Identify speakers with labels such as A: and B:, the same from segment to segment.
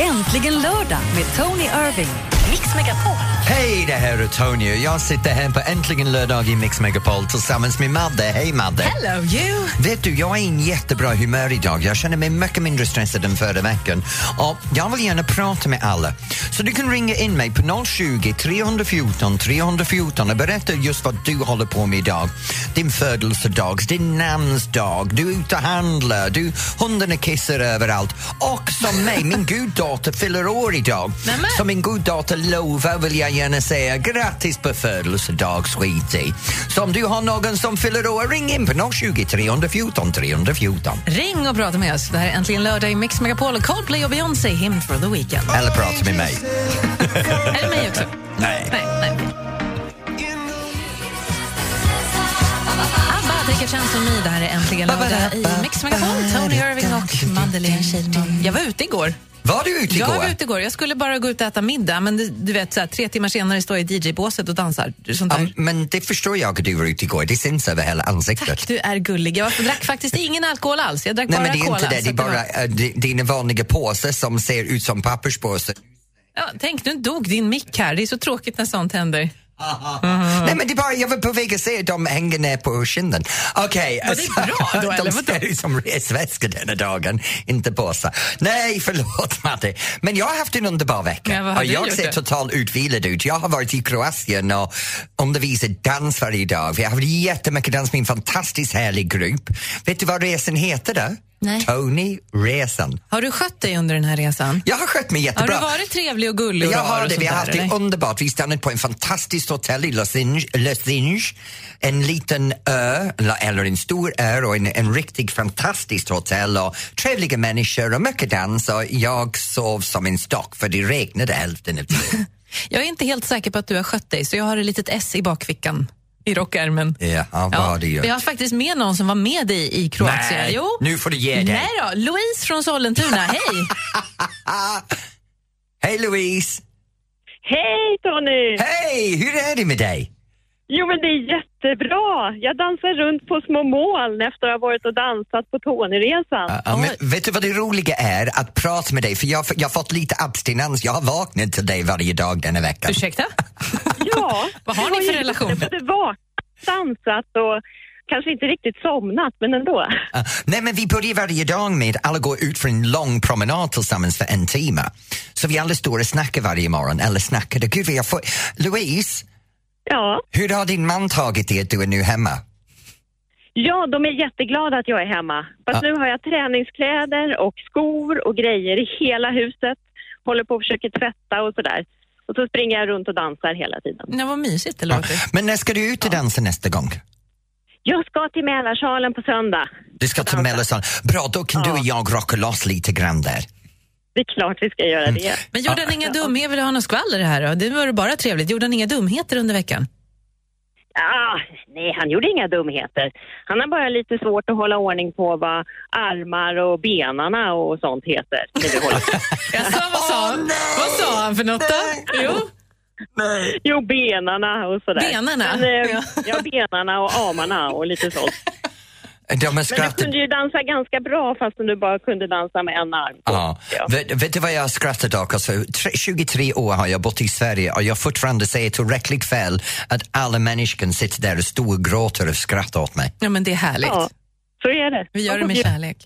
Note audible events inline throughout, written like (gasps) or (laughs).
A: Äntligen lördag med Tony Irving. Mix Megapol.
B: Hej, det här är Tony och jag sitter här på Äntligen lördag i Mix Megapol tillsammans med Madde. Hej Madde!
A: Hello you!
B: Vet du, jag är i en jättebra humör idag. Jag känner mig mycket mindre stressad än förra veckan. Och jag vill gärna prata med alla. Så du kan ringa in mig på 020 314 314 och berätta just vad du håller på med idag. Din födelsedag, din namnsdag, du är ute och handlar, du, hundarna kissar överallt. Och som mig, min guddotter fyller år idag.
A: Nämen.
B: Så min guddotter Lova vill jag gärna säga grattis på födelsedagsskiti. Så om du har någon som fyller år, ring in på 020 314 314.
A: Ring och prata med oss. Det här är Äntligen lördag i Mix Megapol. Och Coldplay och Beyoncé, Hymn for the Weekend.
B: Eller prata med mig.
A: är det mig också?
B: Nej.
A: Nej, nej. ABBA, Rickard Kjellström och My. Det här är Äntligen lördag i Mix Megapol. Tony Irving och Madeleine Kilman. Jag var ute igår.
B: Var du ute
A: Jag
B: igår?
A: var ute igår. Jag skulle bara gå ut och äta middag, men du, du vet, så här, tre timmar senare står jag i DJ-båset och dansar. Sånt där.
B: Ja, men det förstår jag att du var ute igår. Det syns över hela ansiktet.
A: Tack, du är gullig. Jag var- drack faktiskt ingen alkohol alls. Jag drack
B: Nej,
A: bara
B: men det är
A: cola.
B: inte det.
A: så
B: Det är
A: att var-
B: bara eh, di- dina vanliga påsar som ser ut som papperspåsar.
A: Ja, tänk, nu dog din mick här. Det är så tråkigt när sånt händer. Mm-hmm.
B: Nej, men det är bara, jag var på väg att säga att de hänger ner på kinden. Okej.
A: det är bra då, eller
B: (laughs) de
A: vadå?
B: ser ut som resväskor denna dagen, inte påsar. Nej, förlåt Matti. Men jag har haft en underbar vecka.
A: Ja, vad har
B: och
A: du
B: jag
A: gjort
B: ser
A: då?
B: totalt utvilad ut. Jag har varit i Kroatien och undervisat dans varje dag. Vi har haft jättemycket dans med en fantastiskt härlig grupp. Vet du vad resan heter då?
A: Nej.
B: Tony Resan.
A: Har du skött dig under den här resan?
B: Jag har skött mig
A: Har
B: jättebra.
A: du varit trevlig och gullig och
B: Jag
A: rar
B: har
A: och
B: det.
A: sånt
B: Vi har
A: där,
B: haft det
A: eller?
B: underbart. Vi stannade på en fantastiskt hotell i Los Ange- Los Angeles. En liten ö, eller- eller en stor ö och en, en riktigt fantastiskt hotell och trevliga människor och mycket dans och jag sov som en stock för det
A: (laughs)
B: regnade hälften av tiden.
A: Jag är inte helt säker på att du har skött dig, så jag har ett litet S i bakfickan i rockärmen.
B: Ja, vad
A: Ja,
B: har du gjort?
A: vi har faktiskt med någon som var med dig i Kroatien.
B: Nej,
A: jo.
B: nu får du ge dig.
A: Nej då, Louise från
B: (laughs)
A: Sollentuna, hej!
B: Hej Louise!
C: Hej Tony!
B: Hej! Hur är det med dig?
C: Jo men det är jättebra. Jag dansar runt på små moln efter att ha varit och dansat på Tonyresan.
A: Ah.
B: Ja, men vet du vad det roliga är? Att prata med dig, för jag, jag har fått lite abstinens. Jag har vaknat till dig varje dag denna veckan.
A: Ursäkta?
C: Ja,
A: (laughs) Vad har
C: jag
A: ni för
C: ju
A: relation?
C: Både vaknat, dansat och kanske inte riktigt somnat men ändå.
B: Ah, Nej, men vi börjar varje dag med att alla går ut för en lång promenad tillsammans för en timme. Så vi alla står och snackar varje morgon, eller snackade. Gud, vad jag får... Louise,
C: Ja.
B: hur har din man tagit det att du är nu hemma?
C: ja, de är jätteglada att jag är hemma. Fast
A: Ah.
C: nu har jag träningskläder och skor och grejer i hela huset. Håller på och försöker tvätta och sådär. Och så springer jag runt och dansar hela tiden.
A: Nej, vad mysigt det låter.
B: Men när ska du ut och dansa nästa gång?
C: Jag ska till Mälarsalen på söndag.
B: Du ska till Mellerson. Bra, då kan du och jag rocka loss lite grann där.
C: Det är klart vi ska göra det.
A: Men gjorde han inga dumheter? Vill du ha något skvaller här då? Det var det bara trevligt. Gjorde han inga dumheter under veckan?
C: Ah, nej, han gjorde inga dumheter. Han har bara lite svårt att hålla ordning på vad armar och benarna och sånt heter. när vi håller på.
A: Jaså, vad sa han? vad sa han för något då? Jo,
C: jo, benarna och sådär.
A: Benarna?
C: Men, eh,
A: Ja.
C: ja, benarna och armarna och lite sånt.
B: De har
C: Men du
B: skrattat.
C: kunde ju dansa ganska bra fastän du bara kunde dansa med en arm.
B: Ja.
C: Ja.
B: Vet, vet du vad jag skrattar åt? Alltså, tre- 23 år har jag bott i Sverige och jag fortfarande säger tillräckligt fel att alla människor kan sitta där och stå och gråta och skratta åt mig.
A: ja, men det är härligt.
C: Ja, så är det.
A: Vi gör det med
C: Ja.
A: kärlek.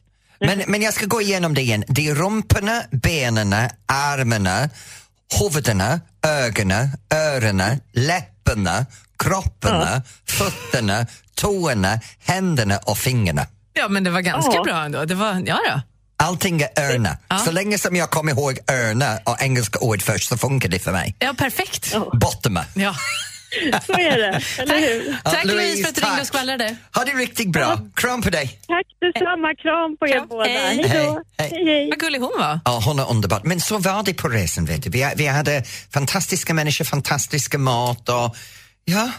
B: Men, men jag ska gå igenom det igen. Det är rumporna, benen, armarna, huvudena, ögonen, öronen, läpparna, kropparna, fötterna, tårna, händerna och fingrarna.
A: Ja, men det var ganska
C: Ja.
A: bra ändå. Det var, ja då.
B: Allting är örna. Så länge som jag kommer ihåg örna och engelska ord först så funkar det för mig.
A: Ja, perfekt.
C: Ja.
B: Bottom.
A: Ja.
C: Så är det, eller hur?
B: Ja,
A: Tack Louise för att du ringde
B: tack.
A: och skvallrade.
B: Ha det riktigt bra. Kram på dig.
C: Tack detsamma. Kram på er
A: Kram.
C: båda.
A: Hej.
C: Hej då.
B: Hej.
C: Hej, hej.
A: Vad gullig hon var.
B: Ja, hon är underbar. Men så var det på resan, vet du. Vi, vi hade fantastiska människor, fantastiska mat och ja,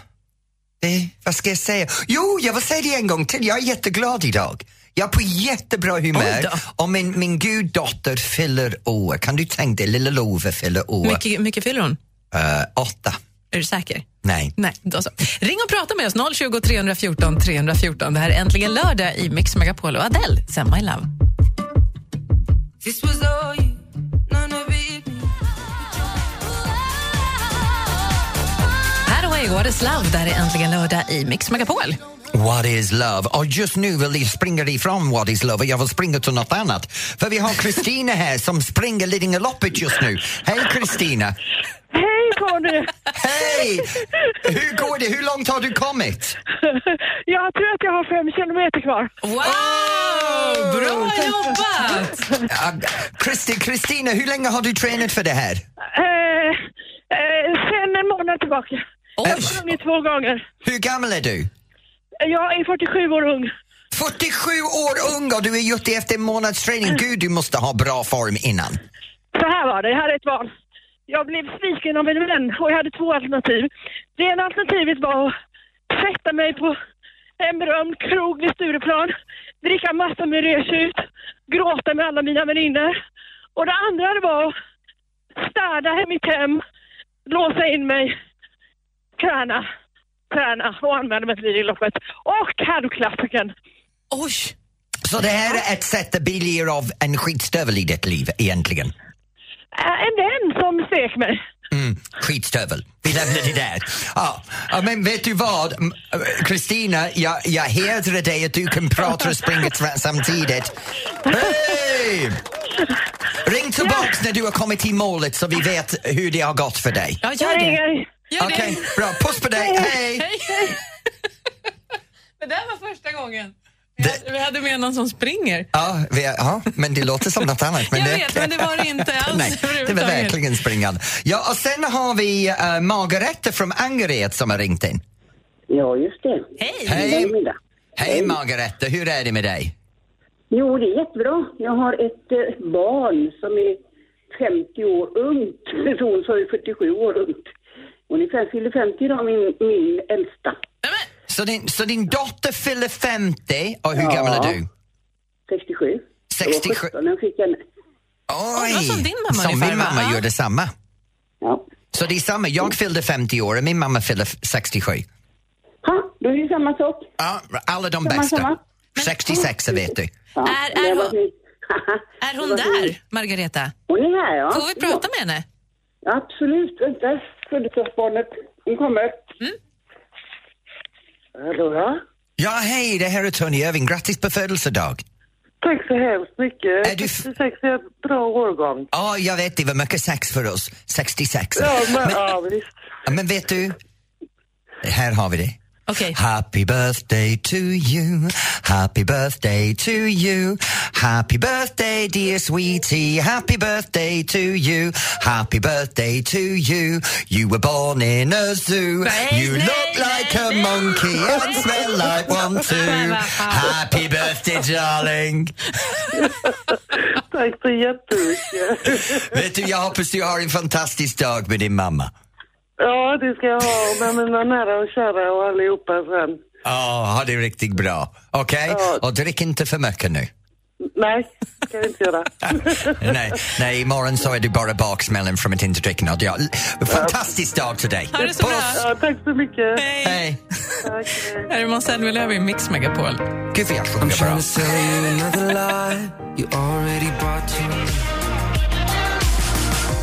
B: det, vad ska jag säga? Jo, jag vill säga det en gång till. Jag är jätteglad idag. Jag är på jättebra
A: Oj
B: humör
A: då.
B: och min, min guddotter fyller år. Kan du tänka dig, lilla Love fyller år.
A: Mycket, mycket fyller hon.
B: Eh, åtta.
A: Är du säker?
B: Nej.
A: Nej, då så. Ring och prata med oss, 020 314 314. Det här är äntligen lördag i Mix Megapol och Adele, Send My Love.
D: This was all you, none of
A: What is love? Där är äntligen lördag i Mix Megapol.
B: What is love? Och just nu vill jag springa ifrån What is love och jag vill springa till något annat. För vi har Kristina här som springer Lidingöloppet just nu. Hej Kristina!
C: Hej på nu!
B: Hej! Hur går det? Hur långt har du kommit?
C: Jag tror att jag har fem kilometer kvar.
A: Wow! Bra jobbat!
B: Ja, Kristi- Kristina, hur länge har du tränat för det här?
C: Eh, eh, sen en månad tillbaka.
A: Oj.
B: Eh,
C: Sprungit två gånger.
B: Hur gammal är du?
C: Jag är 47 år ung.
B: 47 år ung och du är gjort det efter en månads träning. Gud, du måste ha bra form innan.
C: Så här var det, jag hade ett val. Jag blev sviken av en vän och jag hade två alternativ. Det ena alternativet var att sätta mig på en berömd krog vid Stureplan, dricka massa ut, gråta med alla mina vänner. Och det andra var att städa i mitt hem, låsa in mig, träna, träna och använda mig till Lidingöloppet. Och herrklassikern.
A: Oj!
B: Så det här är ett sätt att bilja av en skitstövel i ditt liv egentligen.
C: Äh, En vän som svek mig.
B: Mm, skitstövel. Vi lämnar
A: (laughs)
B: det där. Ja, ja, men vet du vad? Mm, eh, Kristina, jag, jag hedrar dig att du kan prata
A: (laughs)
B: och springa tra- samtidigt. Hej! Ring tillbaks när du har kommit till målet så vi vet hur det har gått för dig.
A: Ja,
C: Jag
A: gör det.
C: ringer.
A: Gör
B: Okej,
A: det.
B: bra. Puss på dig. Hej!
A: (laughs) Det där var första gången. Vi
B: Det-
A: hade- Vi hade med någon som springer.
B: Ja, vi, ja, men det låter som något annat. Men
A: Jag
B: det,
A: vet, men det var det inte alls
B: (laughs) Nej, det var
A: överhuvudtaget.
B: verkligen springande. Ja, och sen har vi uh, Margareta från Angered som har ringt in.
D: Ja, just det.
A: Hej!
B: Hej!
D: Eftermiddag.
B: Hej Margareta, hur är det med dig?
D: Jo, det är jättebra. Jag har ett eh, barn som är 50 år ungt. (laughs) Hon sa ju 47 år ungt. Hon är fem- fyller 50 idag, min, min äldsta.
A: Nej, men,
B: Så din, så din dotter fyller 50 och hur gammal är du?
D: 67.
B: Eh.
D: Jag var
B: 67.
D: 17 när jag fick henne.
A: det var som din mamma
B: Som
A: ungefär,
B: min
A: va?
B: mamma
A: Ja.
B: gjorde samma.
D: Ja.
B: Så det är samma, jag fyllde 50 år och min mamma fyllde f- 67.
D: Ha, då är det samma sak.
B: Ja, alla de
D: Samma,
B: bästa.
D: samma.
B: 66 vet du.
D: Ja,
A: Är- är
D: men jag var
A: hon-
D: (laughs) fin.
A: Är hon
D: Jag var fin.
A: där, Margareta?
D: Hon är här, ja.
A: Får vi prata med henne?
D: Ja, absolut. Vänta, födelsedagsbarnet. Hon kommer.
A: Mm.
D: Hallå, ja.
B: Ja, hej, det här är Tony Irving. Grattis på födelsedag.
E: Tack så hemskt mycket.
B: Är du f-
E: 66 är ett bra årgång.
B: Ja, jag vet, det var mycket sex för oss. 66.
E: Ja, men,
B: Men-
E: ja visst.
B: Ja, Men vet du, här har vi det.
A: Okej.
B: Happy birthday to you, happy birthday to you Happy birthday dear sweetie, happy birthday to you Happy birthday to you, you were born in a zoo
A: Nej,
B: You
A: nej,
B: look
A: nej,
B: like a
A: nej.
B: monkey and smell like one
A: Men
B: too
A: vad fan.
B: Happy birthday darling
E: Tack så
A: (laughs)
E: jättemycket.
B: Vet du, jag hoppas du har en fantastisk dag med din mamma
E: Ja, det ska jag ha med mina nära och kära och allihopa sen.
B: Ja, ha det riktigt bra. Okej?
E: Ja.
B: Och drick inte för mycket nu.
E: Nej, det kan jag inte göra.
B: nej, nej, imorgon så är du bara baksmällen från ett interdrickande. Ja, l- fantastisk dag till dig.
A: Ha det så bra.
E: Ja, tack så mycket.
A: Hej!
B: Hej!
E: Tack. hej.
A: Här är Måns Zelmerlöw i Mix Megapol.
B: Gud vad jag sjunger bra.
F: Trying to sell you another lie. You already bought you.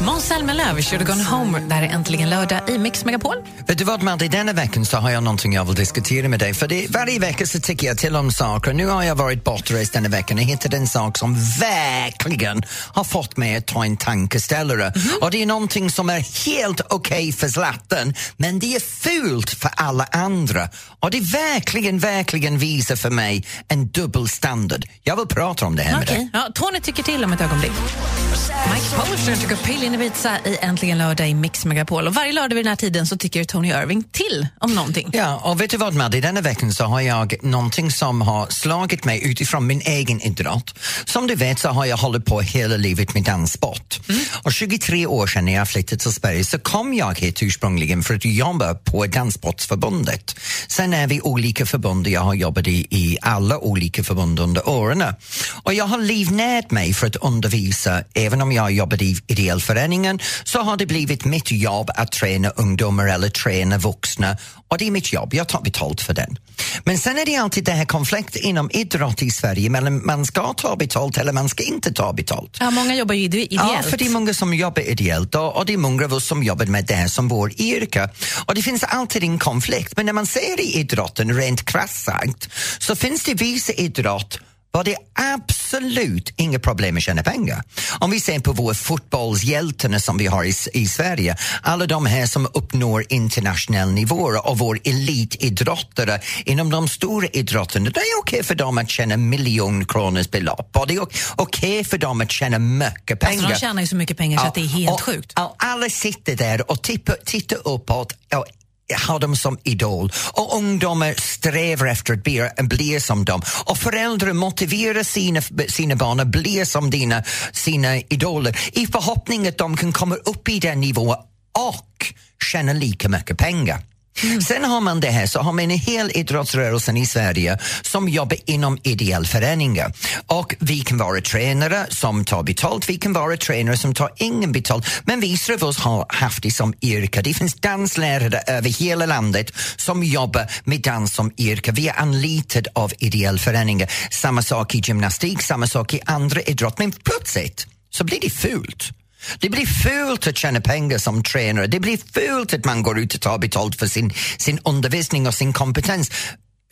A: Måns Zelmerlöw, Should've Gone Home. Där är äntligen lördag i Mix Megapol.
B: Vet du vad Madde, denna veckan så har jag någonting jag vill diskutera med dig. För det, varje vecka så tycker jag till om saker. Nu har jag varit bortrest denna veckan och hittat en sak som verkligen har fått mig att ta en tankeställare. Och det är någonting som är helt okej för Zlatan, men det är fult för alla andra. Och det verkligen, verkligen visar för mig en dubbelstandard. Jag vill prata om det här med dig.
A: Okej. Ja, Tony tycker till om ett ögonblick. Mike Posner tycker pill in Ibiza i Äntligen lördag i Mix Megapol. Och varje lördag vid den här tiden så tycker Tony Irving till om någonting.
B: Ja, och vet du vad Madde, denna veckan så har jag någonting som har slagit mig utifrån min egen idrott. Som du vet så har jag hållit på hela livet med danssport. Och 23 år sedan när jag flyttade till Sverige så kom jag hit ursprungligen för att jobba på Danssportsförbundet. Sen är vi olika förbund och jag har jobbat i, i alla olika förbund under åren. Och jag har livnärt mig för att undervisa, även om jag jobbade i ideell föreningen så har det blivit mitt jobb att träna ungdomar eller träna vuxna och det är mitt jobb, jag tar betalt för den. Men sen är det alltid det här konflikt inom idrott i Sverige mellan man ska ta betalt eller man ska inte ta betalt.
A: Ja, många jobbar ju ide- ideellt.
B: Ja, för det är många många som jobbar ideellt och, och det är många av oss som jobbar med det här som vår yrke. Och det finns alltid en konflikt, men när man ser i idrotten rent krasst sagt så finns det vissa idrott var det absolut inga problem att tjäna pengar. Om vi ser på våra fotbollshjältarna som vi har i, i Sverige, alla de här som uppnår internationell nivå och vår elitidrottare inom de stora idrotterna, det är okej för dem att tjäna miljonkronors belopp och det är okej för dem att tjäna mycket pengar.
A: Alltså, de tjänar ju så mycket pengar så
B: Ja,
A: att det är helt
B: och,
A: sjukt.
B: Och alla sitter där och tippar, tittar uppåt och har dem som idol och ungdomar strävar efter att bli, bli som dem och föräldrar motiverar sina, sina barn att bli som dina, sina idoler i förhoppning att de kan komma upp i den nivån och tjäna lika mycket pengar. (laughs) Sen har man det här, så har man en hel idrottsrörelsen i Sverige som jobbar inom ideell föreningar. Och vi kan vara tränare som tar betalt, vi kan vara tränare som tar ingen betalt. Men vissa av oss har haft det som yrke. Det finns danslärare över hela landet som jobbar med dans som yrke. Vi är anlitade av ideell föreningar. Samma sak i gymnastik, samma sak i andra idrott. Men plötsligt så blir det fult. Det blir fult att tjäna pengar som tränare. Det blir fult att man går ut och tar betalt för sin, sin undervisning och sin kompetens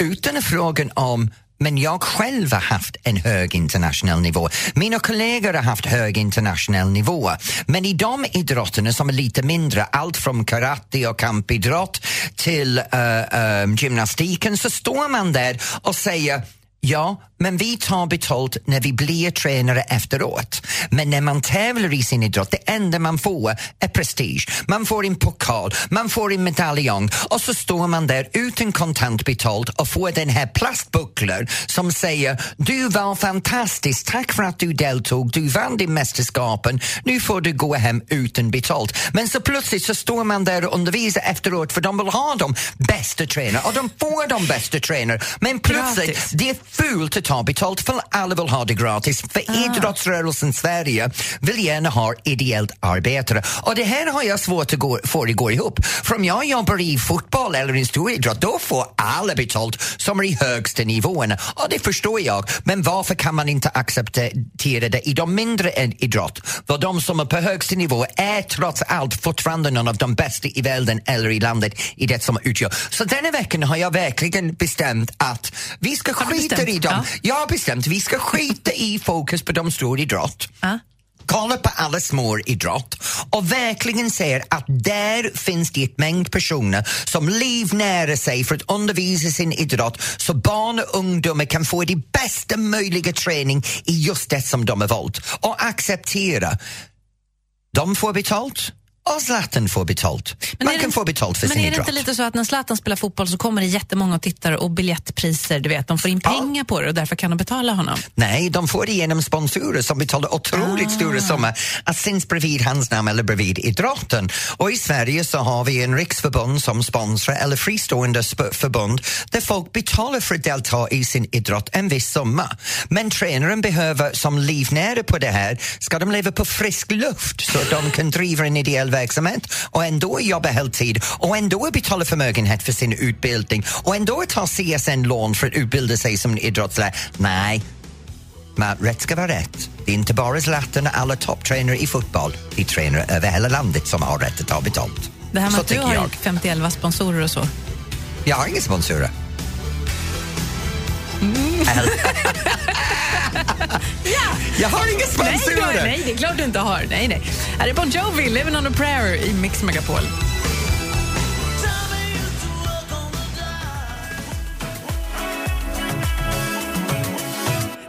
B: utan frågan om men jag själv har haft en hög internationell nivå. Mina kollegor har haft hög internationell nivå. Men i de idrotterna som är lite mindre, allt från karate och kampidrott till eh, eh, gymnastiken, så står man där och säger Ja, men vi tar betalt när vi blir tränare efteråt. Men när man tävlar i sin idrott, det enda man får är prestige. Man får en pokal, man får en medaljong och så står man där utan kontant betalt och får den här plastbucklan som säger du var fantastisk, tack för att du deltog, du vann din mästerskapen, nu får du gå hem utan betalt. Men så plötsligt så står man där och undervisar efteråt för de vill ha de bästa tränarna och de får de bästa tränarna. Men plötsligt
A: Gratis.
B: det är fult att ta betalt för alla vill ha det gratis. För
A: Ah.
B: idrottsrörelsen Sverige vill gärna ha ideellt arbetare. Och det här har jag svårt att gå, få det gå ihop. För om jag jobbar i fotboll eller i storidrott, då får alla betalt som är i högsta nivån. Och det förstår jag. Men varför kan man inte acceptera det i de mindre än idrott? För de som är på högsta nivå är trots allt fortfarande någon av de bästa i världen eller i landet i det som utgör. Så denna veckan har jag verkligen bestämt att vi ska
A: Har du
B: skiter i
A: bestämt?
B: dem.
A: Ja.
B: Jag har bestämt, vi ska skita i fokus på de stora idrott.
A: Ja.
B: Kolla på alla små idrott och verkligen ser att där finns det ett mängd personer som livnär sig för att undervisa sin idrott så barn och ungdomar kan få det bästa möjliga träning i just det som de har valt. Och acceptera, de får betalt och Zlatan får betalt.
A: Men
B: Man
A: är
B: kan
A: det-
B: få betalt för
A: Men
B: sin
A: är det
B: idrott.
A: inte lite så att när Zlatan spelar fotboll så kommer det jättemånga och tittar och biljettpriser, du vet, de får in
B: Ja.
A: pengar på det och därför kan de betala honom.
B: Nej, de får det genom sponsorer som betalar otroligt stora summor att syns bredvid hans namn eller bredvid idrotten. Och i Sverige så har vi en riksförbund som sponsrar eller fristående sp- förbund där folk betalar för att delta i sin idrott en viss summa. Men tränaren behöver som livnära på det här, ska de leva på frisk luft så att de kan driva en ideell verksamhet och ändå jobba heltid och ändå betala förmögenhet för sin utbildning och ändå ta CSN-lån för att utbilda sig som idrottslärare. Nej, men rätt ska vara rätt. Det är inte bara Zlatan och alla topptränare i fotboll. Det är tränare över hela landet som har rätt att ta betalt.
A: Det här med
B: Så
A: att du
B: tycker
A: har
B: jag.
A: 51 sponsorer och så.
B: Jag har inga sponsorer.
A: Mm. (laughs)
B: (laughs) Eller- Jag har inga
A: Nej, du har,
B: sponsorer!
A: nej, det är klart du inte har. Nej, nej. Här är Bon Jovi, Living on a prayer i Mix Megapol.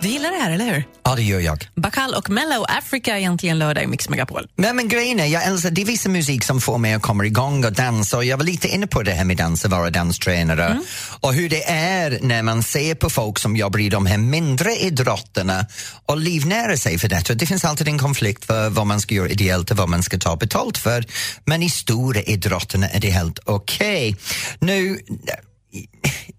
A: Du gillar det här, eller hur?
B: Ja, det gör jag.
A: Bacal och Mellow Africa är egentligen lördag i Mix Megapol.
B: Nej men grejen är, jag älskar, det är vissa musik som får mig att komma igång och dansa och jag var lite inne på det här med dans och vara danstränare och hur det är när man ser på folk som jobbar i de här mindre idrotterna och livnära sig för detta. Det finns alltid en konflikt för vad man ska göra ideellt och vad man ska ta betalt för men i stora idrotterna är det helt okej. Nu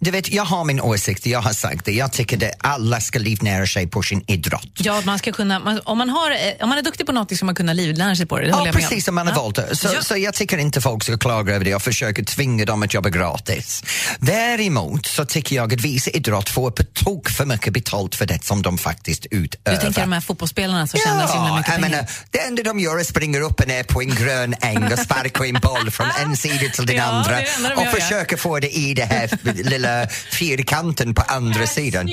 B: Du vet, jag har min åsikt, jag har sagt det. Jag tycker att alla ska livnära sig på sin idrott.
A: Ja, man ska kunna, man, om, man har, eh, om man är duktig på något ska man kunna livnära sig på det. det håller
B: ja,
A: jag med om.
B: precis som man har valt det. Så,
A: Ja.
B: så jag tycker inte folk ska klaga över det och försöka tvinga dem att jobba gratis. Däremot så tycker jag att vissa idrott får på tok för mycket betalt för det som de faktiskt utövar.
A: Du tänker de här fotbollsspelarna som tjänar så himla
B: Ja,
A: mycket
B: jag
A: pengar.
B: menar, det enda de gör är springer upp och ner på en grön äng och sparkar en boll från en sida till den
A: Ja, det är
B: andra
A: det enda de
B: och
A: gör, ja.
B: försöker få det i den här lilla fyrkanten på andra sidan.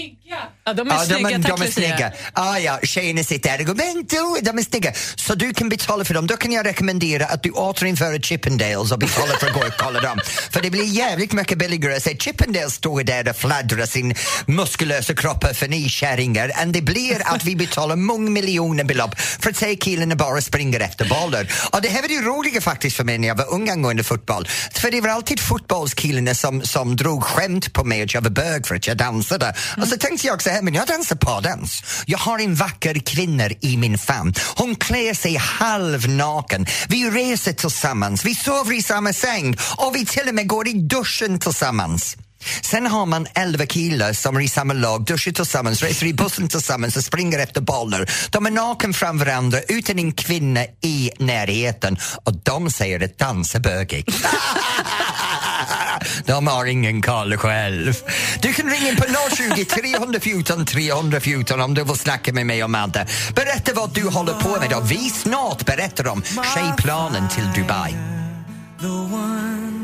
A: Ja, de är snygga,
B: de,
A: tack
B: de är
A: Lucia.
B: snygga. Ah, ja, tjejerna sitter där och går, men du, de är snygga. Så du kan betala för dem. Då kan jag rekommendera att du återinför Chippendales och betalar för att gå och kolla dem. För det blir jävligt mycket billigare att se Chippendales stå där och fladdra sin muskulösa kropp för ni kärringar. än det blir att vi betalar mångmiljonerbelopp för att se killarna bara springer efter bollar. Och det här var det roliga faktiskt för mig när jag var ung angående fotboll. För det var alltid fotbollskillarna som, som drog skämt på mig att jag var bög för att jag dansade. Och så tänkte jag så här, men jag dansar pardans. Jag har en vacker kvinna i min famn. Hon klär sig halvnaken. Vi reser tillsammans, vi sover i samma säng och vi till och med går i duschen tillsammans. Sen har man elva killar som är i samma lag, duschar tillsammans, reser i bussen tillsammans och springer efter bollar. De är naken fram varandra utan en kvinna i närheten och de säger att dansa bögigt. (laughs) De har ingen koll själv. Du kan ringa in på 020 314 314 om du vill snacka med mig och Madde. Berätta vad du håller på med och vi snart berättar om tjejplanen till Dubai.
F: The one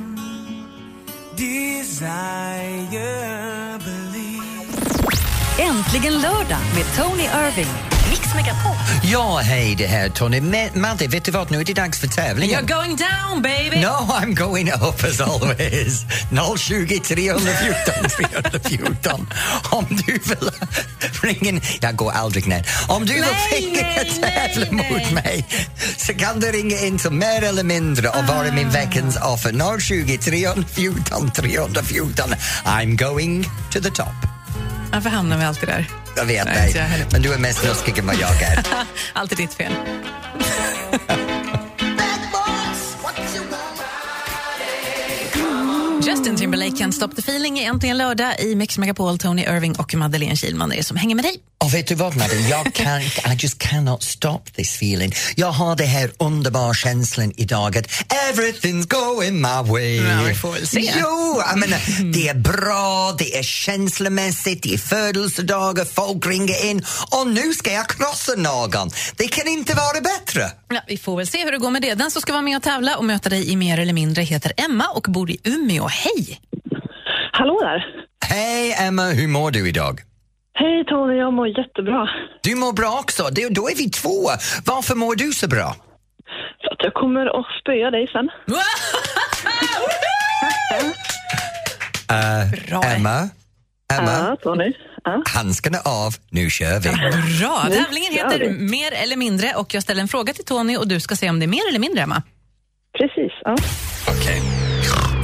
F: desire believe.
G: Äntligen lördag med Tony Irving. Mix Megapol.
B: Ja, hej det här Tony. Ma- Madde, vet du vad? Nu är det dags för tävlingen.
A: You're going down baby!
B: (laughs) No, I'm going up as always. 020 314 314. Om du vill ringa... in- Jag går aldrig ner. Om du
A: Nej,
B: vill ringa
A: nej,
B: och
A: nej,
B: tävla
A: nej.
B: mot mig så kan du ringa in till mer eller mindre och vara min veckans offer. 020 314 314. I'm going to the top.
A: Varför hamnar vi alltid där? (laughs)
B: Jag vet
A: Nej,
B: dig,
A: inte jag heller.
B: men du är mest snuskig än vad jag är.
A: Alltid ditt fel. Justin Timberlake kan Stop the feeling är äntligen lördag i Mix Megapol. Tony Irving och Madeleine Kilman är det som hänger med dig.
B: Och vet du vad Madde, jag kan, I just cannot stop this feeling. Jag har det här underbara känslan idag att everything's going my way.
A: Ja, vi får väl se.
B: Jo, jag menar, det är bra, det är känslomässigt, det är födelsedagar, folk ringer in och nu ska jag krossa någon. Det kan inte vara bättre.
A: Ja, vi får väl se hur det går med det. Den som ska vara med och tävla och möta dig i Mer eller mindre heter Emma och bor i Umeå. Hej!
C: Hallå där!
B: Hej Emma, hur mår du idag?
C: Hej Tony, jag mår jättebra.
B: Du mår bra också, Det- då är vi två. Varför mår du så bra?
C: Så att jag kommer att spöa dig sen.
A: Bra,
B: Emma, Emma,
C: Ja, Tony. Ja.
B: handskarna av, nu kör vi.
A: (laughs) Bra!
C: Nu
A: Tävlingen
C: kör
A: heter
C: vi.
A: Mer eller mindre och jag ställer en fråga till Tony och du ska säga om det är mer eller mindre, Emma.
C: Precis. Ja.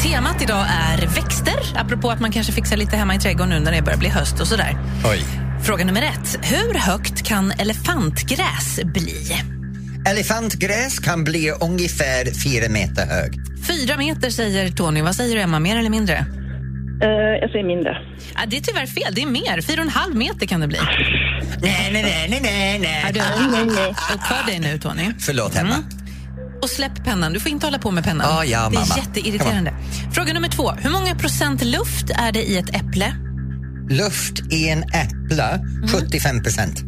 A: Temat idag är växter, apropå att man kanske fixar lite hemma i trädgården nu när det börjar bli höst och sådär.
B: Oj.
A: Fråga nummer ett. Hur högt kan elefantgräs bli?
B: Elefantgräs kan bli ungefär fyra meter hög.
A: Fyra meter säger Tony. Vad säger du, Emma? Mer eller mindre?
C: Eh, jag säger mindre.
A: Ja, det är tyvärr fel. Det är mer. Fyra och en halv meter kan det bli.
B: Nej, nej, nej, nej, nej,
A: Är
B: nej.
A: du Mm. uppför dig nu, Tony?
B: Förlåt, Emma.
A: Och släpp pennan. Du får inte hålla på med pennan.
B: Ja, ja,
A: det är
B: mamma.
A: jätteirriterande. Fråga nummer två. Hur många procent luft är det i ett äpple?
B: Luft i en äpple,
A: Mm.
B: 75 procent.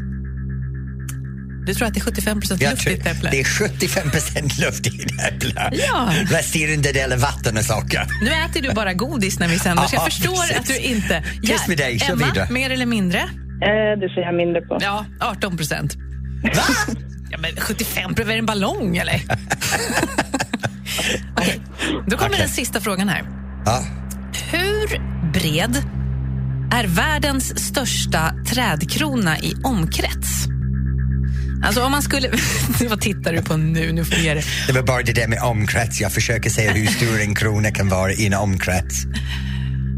A: Du tror att det är 75 procent luft i ett äpple?
B: Det är 75 procent luft i en äpple.
A: Ja.
B: Resterande del är vatten och socker.
A: Nu äter du bara godis när vi sänder, så jag
B: Ja,
A: förstår
B: precis.
A: att du inte...
B: Tyst med dig, kör
A: Emma,
B: vidare.
A: mer eller mindre?
C: Eh, det säger jag mindre på.
A: Ja, 18 procent.
B: Va?
A: Ja, men 75 procent, är det en ballong
B: (laughs)
A: eller? Okej, då kommer
B: Okej.
A: den sista frågan här.
B: Ja.
A: Hur bred är världens största trädkrona i omkrets? Alltså om man skulle... (laughs) Vad tittar du på nu? Nu får du ge dig.
B: Det var bara det där med omkrets. Jag försöker säga hur stor en krona kan vara i en omkrets.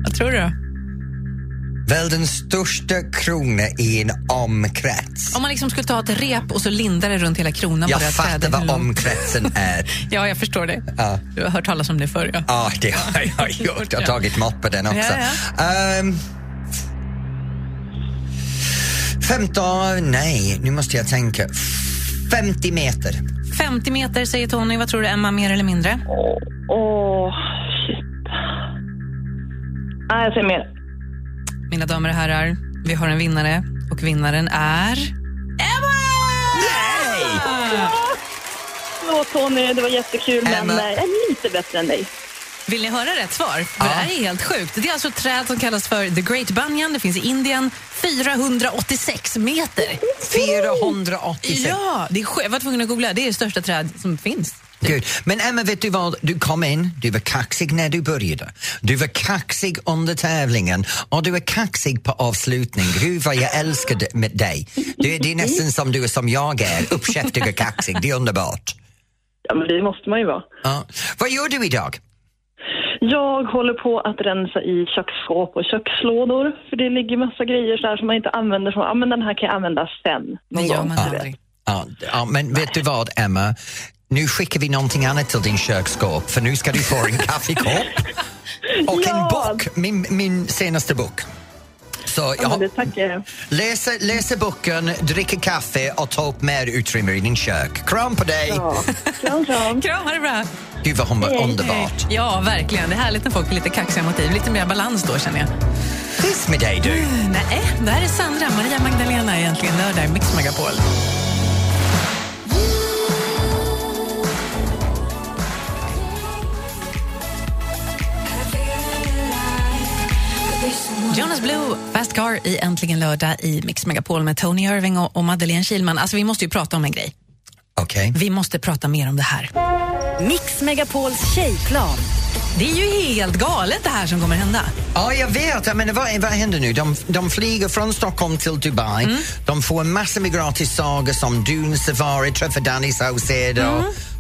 A: Vad tror du då?
B: Väl den största kronan i en omkrets.
A: Om man liksom skulle ta ett rep och så linda det runt hela kronan på
B: Jag
A: det här
B: fattar
A: trädet, hur
B: vad
A: långt-
B: omkretsen
A: (laughs)
B: är.
A: Ja, jag förstår det.
B: Ja.
A: Du har hört talas om det förr. Ja.
B: Ja, det har
A: (laughs)
B: jag gjort. Jag har tagit mått på den också.
A: Ja,
B: Ehm, 15, nej, nu måste jag tänka. 50 meter.
A: 50 meter säger Tony. Vad tror du, Emma? Mer eller mindre?
H: Åh, shit. Nej, jag säger mer.
A: Mina damer och herrar, vi har en vinnare och vinnaren är... Emma!
H: Förlåt Tony, det var jättekul
B: Emma.
H: men eh, jag är lite bättre än dig.
A: Vill ni höra rätt svar? För Det här är helt sjukt. Det är alltså ett träd som kallas för The Great Banyan. Det finns i Indien. 486 meter!
B: 486.
A: Ja, det är sjukt. Jag var tvungen att googla. Det är det största träd som finns.
B: Gud. Men Emma, vet du vad? Du kom in, du var kaxig när du började. Du var kaxig under tävlingen och du var kaxig på avslutning. Gud vad jag älskar d- med dig. Det, det är nästan som du är som jag är, uppkäftig och kaxig. Det är underbart.
H: Ja, men det måste man ju vara.
B: Ja. Vad gör du idag?
H: Jag håller på att rensa i köksskåp och kökslådor. För det ligger massa grejer så här som man inte använder. Som, ja, men den här kan jag använda sen.
A: Det
H: Någon
A: gör
H: gång,
A: man
H: du vet.
A: aldrig.
B: Ja, ja, men vet du vad, Emma? Nu skickar vi någonting annat till din köksskåp för nu ska du få en kaffekopp och en
H: Ja.
B: bok, min, min senaste bok. Så
H: Ja, men
B: ja,
H: det tackar jag.
B: läsa, läsa boken, dricka kaffe och ta upp mer utrymme i din kök. Kram på dig!
H: Ja. Kram, kram.
A: Kram, ha det bra!
B: Gud vad hon var underbart.
A: Ja, verkligen. Det är härligt när folk är lite kaxiga motiv. Lite mer balans då, känner jag.
B: Puss med dig du!
A: Eh, Nej, det här är Sandra, Maria Magdalena egentligen, lördag i Mix Megapol. Jonas Blue, Fast Car i Äntligen lördag i Mix Megapol med Tony Irving och, och Madeleine Kilman. Alltså, vi måste ju prata om en grej.
B: Okej.
A: Vi måste prata mer om det här.
G: Mix Megapols tjejplan.
A: Det är ju helt galet det här som kommer hända.
B: Ja, jag vet. Jag menar, vad, vad händer nu? De, de flyger från Stockholm till Dubai.
A: Mm.
B: De får massor med gratis saker som Dune Safari, träffar Danny Saucedo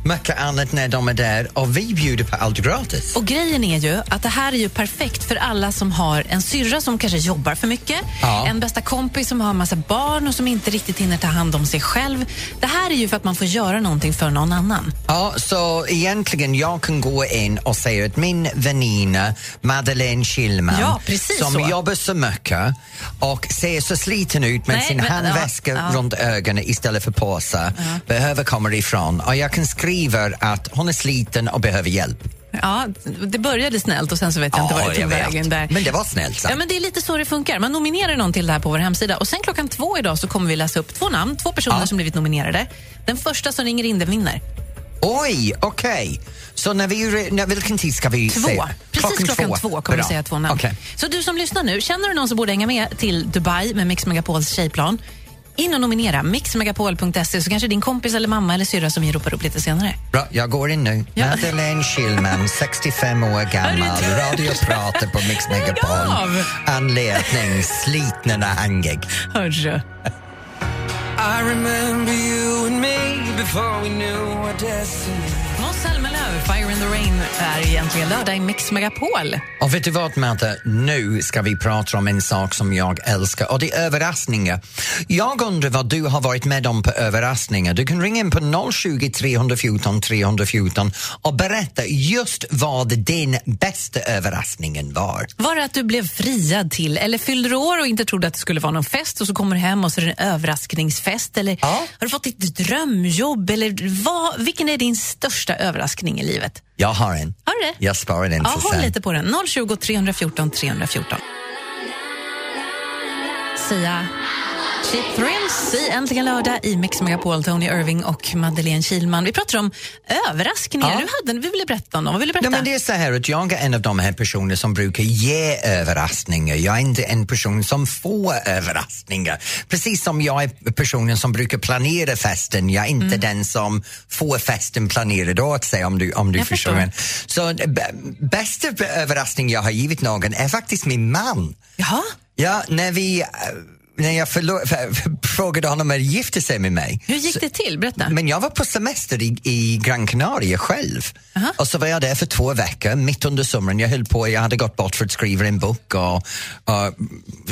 A: Mm.
B: och mycket annat när de är där. Och vi bjuder på allt gratis.
A: Och grejen är ju att det här är ju perfekt för alla som har en syrra som kanske jobbar för mycket,
B: Ja.
A: en bästa kompis som har en massa barn och som inte riktigt hinner ta hand om sig själv. Det här är ju för att man får göra någonting för någon annan.
B: Ja, så egentligen jag kan gå in och säga att min väninna Madeleine Schillman
A: Ja, precis
B: som
A: så.
B: jobbar så mycket och ser så sliten ut med
A: Nej,
B: sin
A: men- ja,
B: handväska
A: ja.
B: runt ögonen istället för påse behöver komma ifrån. Och jag kan skriva att hon är sliten och behöver hjälp.
A: Ja, det började snällt och sen så vet jag inte
B: Ja,
A: var det tog
B: jag vet.
A: vägen. Där.
B: Men det var snällt sagt.
A: Ja, men det är lite så det funkar. Man nominerar någon till det här på vår hemsida och sen klockan två idag så kommer vi läsa upp två namn, två personer
B: Ja.
A: som blivit nominerade. Den första som ringer in den vinner.
B: Oj, okej. Så när vi, re- när, vilken tid ska vi
A: Två.
B: säga?
A: Precis klockan, två, kommer
B: Bra.
A: vi säga två namn.
B: Okej.
A: Så du som lyssnar nu, känner du någon som borde hänga med till Dubai med Mix Megapols tjejplan? In och nominera mixmegapol.se så kanske din kompis eller mamma eller syrra som vi ropar upp lite senare.
B: Bra, jag går in nu.
A: (laughs)
B: Madeleine Schillman, 65 år gammal, radioprater på Mix Megapol.
A: av!
B: Anledning, sliten och hangig.
A: Hörru.
F: I remember you and me before we knew our destiny.
A: Måns Zelmerlöw, Fire in the Rain, är egentligen lördag i Mix Megapol.
B: Och vet du vad, Märta? Nu ska vi prata om en sak som jag älskar och det är överraskningar. Jag undrar vad du har varit med om på överraskningar. Du kan ringa in på 020 314 314 och berätta just vad din bästa överraskningen var.
A: Var det att du blev friad till eller fyllde du år och inte trodde att det skulle vara någon fest och så kommer du hem och så är det en överraskningsfest eller
B: Ja.
A: har du fått ditt drömjobb eller vad, vilken är din största överraskning i livet?
B: Jag har en.
A: Har du det?
B: Jag sparar den
A: Ja,
B: till
A: håll
B: sen.
A: lite på den. 020 314 314. Sia. Cheap Thrills i Äntligen lördag i Mix Megapol. Tony Irving och Madeleine Kilman. Vi pratar om överraskningar.
B: Ja.
A: Du hade, vi ville berätta om dem. Vad vill du berätta?
B: Nej, men det är så här att jag är en av de här personerna som brukar ge överraskningar. Jag är inte en person som får överraskningar. Precis som jag är personen som brukar planera festen. Jag är inte den som får festen planerad åt sig om du, om du
A: Jag
B: förstår.
A: förstår.
B: mig. Så eh, b- bästa överraskning jag har givit någon är faktiskt min man.
A: Jaha?
B: Ja, när vi eh, när jag förlo- (laughs) för, för, frågade honom om han gifte sig med mig.
A: Hur gick det till? Berätta.
B: Men jag var på semester i, i Gran Canaria själv. Och så var jag där för två veckor, mitt under sommaren. Jag höll på, jag hade gått bort för att skriva en bok och, och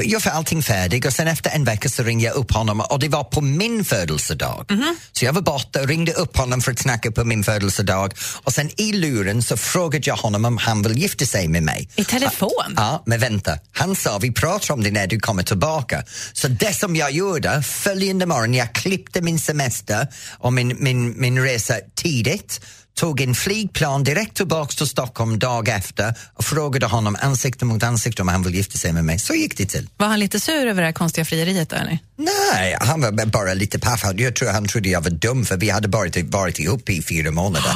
B: jag fick allting färdigt. Och sen efter en vecka så ringde jag upp honom och det var på min födelsedag. Så jag var borta och ringde upp honom för att snacka på min födelsedag. Och sen i luren så frågade jag honom om han vill gifta sig med mig.
A: I telefon?
B: Ja, men vänta. Han sa vi pratar om det när du kommer tillbaka. Så det som jag gjorde följande morgon, jag klippte min semester och min, min, min resa tidigt tog en flygplan direkt tillbaka till Stockholm dag efter och frågade honom ansikte mot ansikte om han ville gifta sig med mig. Så gick det till.
A: Var han lite sur över det här konstiga frieriet då, eller?
B: Nej, han var bara lite paff. Jag tror han trodde jag var dum för vi hade varit, varit ihop i fyra månader. (gasps)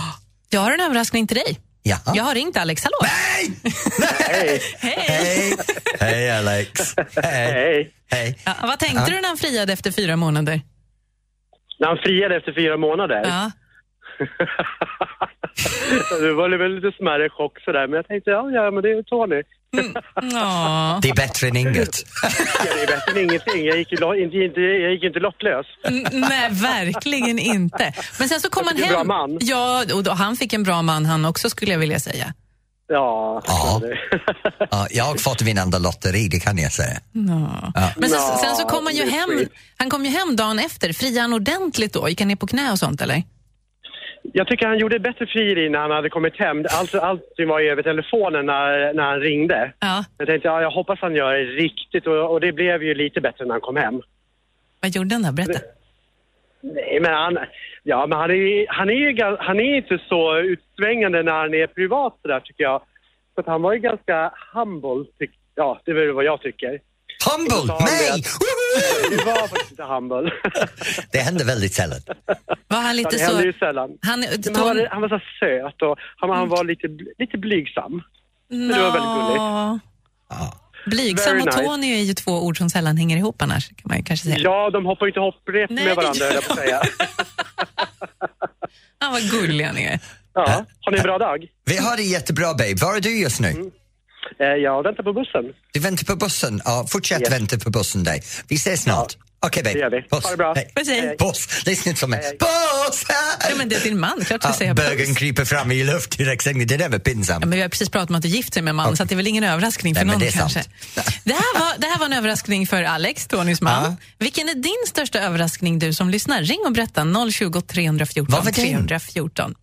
A: Jag har en överraskning till dig.
B: Jaha.
A: Jag har ringt Alex, hallå!
B: Hej!
A: Hej!
B: Hej! Hej Alex! Hej!
I: Hej.
B: Hej!
A: Ja, vad tänkte du när han friade efter fyra månader?
I: När han friade efter
C: (laughs)
I: fyra månader.
A: Ja.
I: det var väl lite smärre chock sådär, men jag tänkte ja, ja men det är ju Tony.
A: Ja.
B: Det är bättre än inget.
I: Ja, det är bättre än ingenting. Jag gick ju lo- inte, inte, jag gick inte lottlös.
A: N- Nej, verkligen inte. Men sen så kom han
I: fick en
A: hem.
I: bra man.
A: Ja, och då, han fick en bra man han också skulle jag vilja säga.
I: Ja.
B: Ja.
I: det-
B: Ja, jag har fått vinnande lotteri, det kan jag säga.
A: Nå. Men sen,
I: Nå,
A: sen så kom han ju
I: det är
A: hem,
I: skit.
A: han kom ju hem dagen efter. Friade han ordentligt då? Gick han ner på knä och sånt eller?
I: (laughs) jag tycker han gjorde ett bättre frieri när han hade kommit hem. Allt, allting var ju över telefonen när, när han ringde.
A: Ja.
I: Jag tänkte ja, jag hoppas han gör det riktigt och, och det blev ju lite bättre när han kom hem.
A: Vad gjorde han då? Berätta.
I: Nej, men han, ja, men han, är, han, är ju, gan- han är inte så utsvängande när han är privat så där, tycker jag. Så att han var ju ganska humble, tyck, ja, det är väl vad jag tycker.
B: Humble!
I: Sa han det?
B: Nej!
I: Du var faktiskt inte
A: (laughs)
I: humble.
B: (laughs) Det händer väldigt sällan.
A: Var han lite
I: Det händer
A: så...
I: ju sällan.
A: Han,
I: Men han,
A: Tom,
I: var, han var så söt och han, han var lite, bl- lite blygsam. det var väldigt
A: Nå.
B: Ja.
A: Blygsam
I: Very
A: och
I: nice.
A: Tony är ju två ord som sällan hänger ihop annars. Kan man ju kanske säga.
I: Ja, de hoppar ju inte hopprep
A: Nej,
I: med
A: det gör
I: varandra, höll jag på
A: (laughs)
I: att säga.
A: Ah, vad gullig han är.
I: Ja. Har ni en bra dag?
B: Vi har det jättebra, babe. Var är du just nu?
I: Eh, Jag väntar på bussen.
B: Du väntar på bussen. Ja, fortsätt
I: Yes.
B: vänta på bussen, dig. Vi ses snart. Okej,
I: Det gör
B: babe.
I: vi. Ha det bra.
B: Hej.
A: Puss, hej.
B: Puss! Lyssna till mig. Puss! Hej!
A: Ja, men det är din man, klart du
B: Ja,
A: säger
B: bögen
A: puss.
B: kryper fram i luft direkt. Det där var pinsamt.
A: Ja, men vi har precis pratat om att du gift dig med en man, så att det är väl ingen överraskning för
B: Nej, men
A: någon
B: det är sant.
A: kanske. Det här, var, det här var en överraskning för Alex, Tonys man.
B: Ja.
A: Vilken är din största överraskning, du som lyssnar? Ring och berätta, 020 314
B: Vad var din?
A: 314.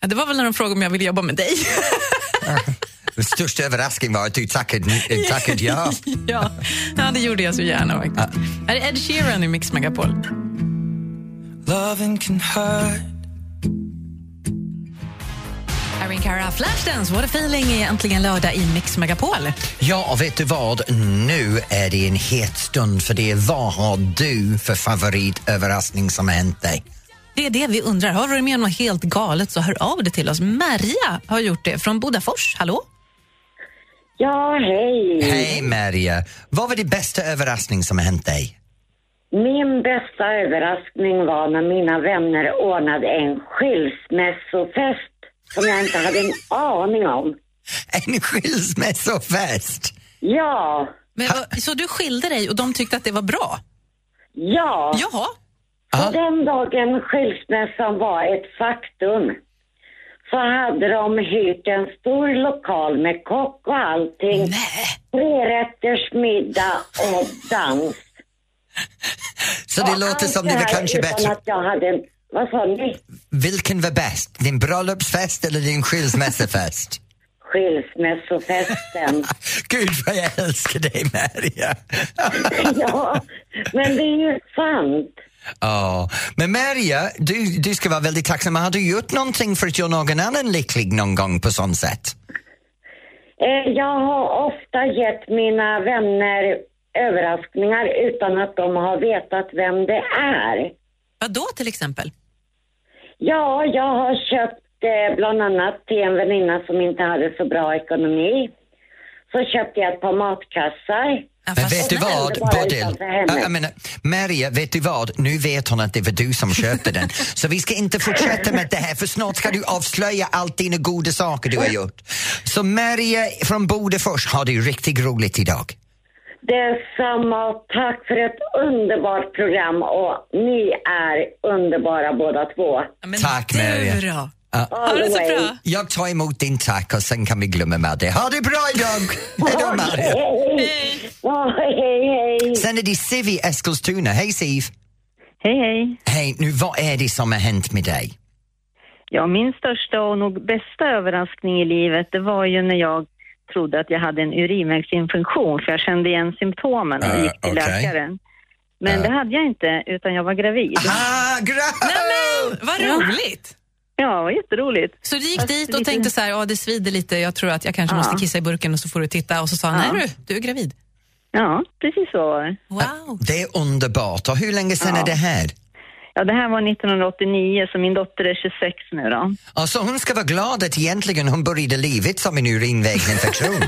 A: Ja, det var väl när de frågade om jag ville jobba med dig. (laughs)
B: Den största överraskningen var att du tackade,
A: (laughs)
B: eh, tackade ja.
A: ja. ja, det gjorde jag så gärna faktiskt.
B: Ah.
A: Här är Ed Sheeran i Mix Megapol.
F: Loving can hurt.
A: Irene Cara, Flashdance, what a feeling är äntligen lördag i Mix Megapol.
B: Ja, och vet du vad? Nu är det en het stund för det. är Vad har du för favoritöverraskning som har hänt dig?
A: Det är det vi undrar. Har du varit med om något helt galet så hör av dig till oss. Maria har gjort det från Bodafors. Hallå?
D: Ja, hej.
B: Hej Maria! Vad var det bästa överraskning som har hänt dig?
D: Min bästa överraskning var när mina vänner ordnade en skilsmässofest som jag inte hade en aning om.
B: En skilsmässofest!
D: Ja,
A: Men, vad- så du skilde dig och de tyckte att det var bra?
D: ja.
A: Jaha.
B: Ja.
D: Och den dagen skilsmässan var ett faktum så hade de hyrt en stor lokal med kock och allting.
A: Nej.
D: Trerätters middag och dans.
B: Så det
D: Och
B: låter
D: allt
B: som det var
D: här
B: kanske
D: utan
B: bättre.
D: Att jag hade en, vad sa ni?
B: Vilken var bäst? Din bröllopsfest eller din skilsmässofest?
D: Skilsmässofesten.
B: Gud vad jag älskar dig Maria!
D: (laughs) ja, men det är ju sant.
B: Ja, men Maria, du, du ska vara väldigt tacksam. Har du gjort någonting för att göra någon annan lycklig någon gång på sånt sätt?
D: Eh, Jag har ofta gett mina vänner överraskningar utan att de har vetat vem det är.
A: Vadå till exempel?
D: Ja, jag har köpt eh, bland annat till en väninna som inte hade så bra ekonomi. Så köpte jag ett par matkassar.
A: Ja,
B: Men
A: fast
B: vet du
A: snäll.
B: vad,
D: det var
B: Bodil?
D: utanför henne.
B: Ja, Jag menar, Maria, vet du vad? Nu vet hon att det var du som köpte
A: (laughs)
B: den. Så vi ska inte fortsätta med det här för snart ska du avslöja allt dina goda saker du har gjort. Så Maria från Bodefors, har du riktigt roligt idag?
D: Detsamma. Tack för ett underbart program och ni är underbara båda två.
B: Tack Mary.
A: Bra.
B: Ja.
D: All the way.
B: Jag tar emot din tack och sen kan vi glömma Madde. Ha det bra
A: (laughs)
B: idag! Hej då Maria!
D: hej, hej.
B: Sen är det Siv i Eskilstuna. Hej Siv!
C: Hej, hej.
B: Hej, nu vad är det som har hänt med dig?
C: Ja, min största och nog bästa överraskning i livet, det var ju när jag trodde att jag hade en urinvägsinfektion, för jag kände igen symptomen och gick till
B: okej.
C: läkaren. Men det hade jag inte, utan jag var gravid.
B: Ah,
A: Nej, men, vad roligt!
C: Ja, vad jätteroligt.
A: Så du gick dit och tänkte så här, ja det svider lite, jag tror att jag kanske
C: Ja.
A: måste kissa i burken och så får du titta och så sa han,
C: Ja.
A: nej du, du är gravid.
C: Ja, precis så var det.
A: Wow.
B: Det är underbart. Och hur länge sedan är det här?
C: Ja, det här var 1989, så min dotter är 26 nu då. (laughs)
B: Alltså hon ska vara glad att egentligen hon började livet som en
C: (laughs)
B: urinvägsinfektion.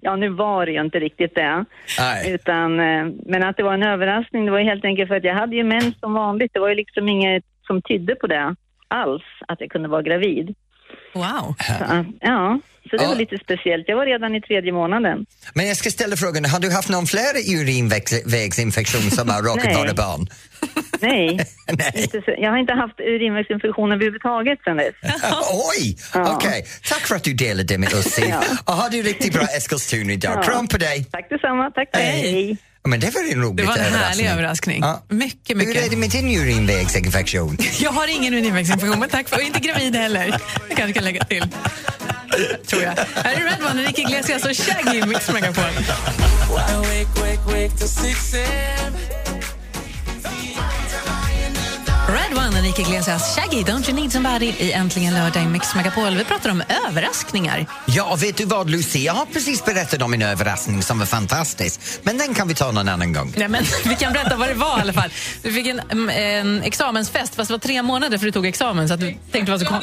C: Ja, nu var det ju inte riktigt det.
B: Nej.
C: Utan, eh, men att det var en överraskning, det var ju helt enkelt för att jag hade ju mens som vanligt. Det var ju liksom inget som tydde på det alls, att jag kunde vara gravid.
A: Wow.
C: Så, att- Äh. ja, så det var lite speciellt. Jag var redan i tredje månaden.
B: Men jag ska ställa frågan, har du haft någon fler urinvägsinfektion som har råkat
C: Nej.
B: vara barn?
C: (laughs) Nej, Inte så, jag har inte haft urinvägsinfektion överhuvudtaget sedan dess.
B: (laughs) Oj! Okej, tack för att du delade det med oss Siv. Och ha det riktigt bra Eskilstuna idag. Kram på dig!
C: Tack detsamma, tack Hej.
B: Men det var en rolig
A: Det var en
B: överraskning.
A: härlig överraskning.
B: Ja.
A: Mycket,
B: Hur är
A: mycket.
B: det med din
A: (laughs)
B: urinvägsinfektion?
A: Jag har ingen urinvägsinfektion, men tack för och inte gravid heller. Jag kanske kan lägga till. Tror jag. Här är Red One, Enrique Iglesias och Shaggy i Mix Megapol.
F: Wake, wake, wake till 6 a.m.
A: Red One, Enrique Iglesias, Shaggy, Don't You Need Somebody i Äntligen lördag i Mix Megapol. Vi pratar om överraskningar.
B: Ja, och vet du vad Lucy? Jag har precis berättat om en överraskning som var fantastisk. Men den kan vi ta någon annan gång.
A: Nej, men (laughs) vi kan berätta vad det var i alla fall. Du fick en, mm, en examensfest, fast det var tre månader för du tog examen. Så att du tänkte vad så kom...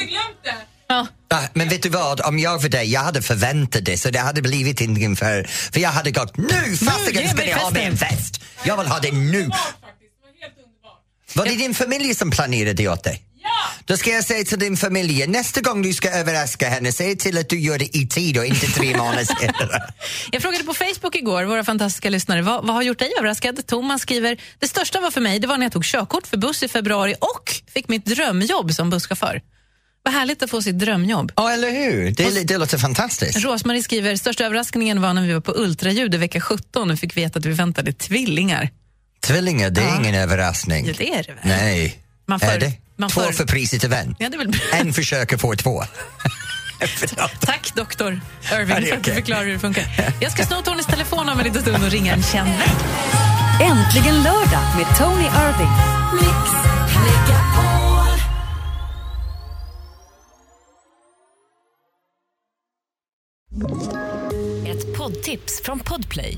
A: Ja.
B: Ah, Men vet du vad, om jag var dig, jag hade förväntat det så det hade blivit ingenting för... För jag hade gått nu, fasiken
A: ge
B: ska
A: mig
B: ni ha min
A: festen."
B: fest! Jag vill ha det nu! Var det din familj som planerade det åt dig? Ja! Då ska jag säga till din familj, nästa gång du ska överraska henne, säg till att du gör det i tid och inte
A: (laughs)
B: tre månader senare.
A: Jag frågade på Facebook igår, våra fantastiska lyssnare, vad, vad har gjort dig överraskad? Thomas skriver, det största var för mig, det var när jag tog körkort för buss i februari och fick mitt drömjobb som busschaufför. Vad härligt att få sitt drömjobb.
B: Ja, eller hur? Det, det låter fantastiskt.
A: Rosmarie skriver, största överraskningen var när vi var på ultraljud i vecka 17 och fick veta att vi väntade tvillingar.
B: Tvillingar, det är ingen överraskning.
A: Ja, det är det väl?
B: Nej.
A: Man får-
B: är det?
A: man
B: två
A: får-
B: för priset av en.
A: Ja, det är väl...
B: En försöker få två. Förlåt.
A: Tack doktor
B: Ja,
A: Irving
B: det är
A: för att du
B: okej.
A: förklarar hur det funkar. Jag ska sno Tonys telefon om en liten stund och ringa en känd vän.
J: Äntligen lördag med Tony Irving. Mix Megapol.
H: Ett poddtips från Podplay.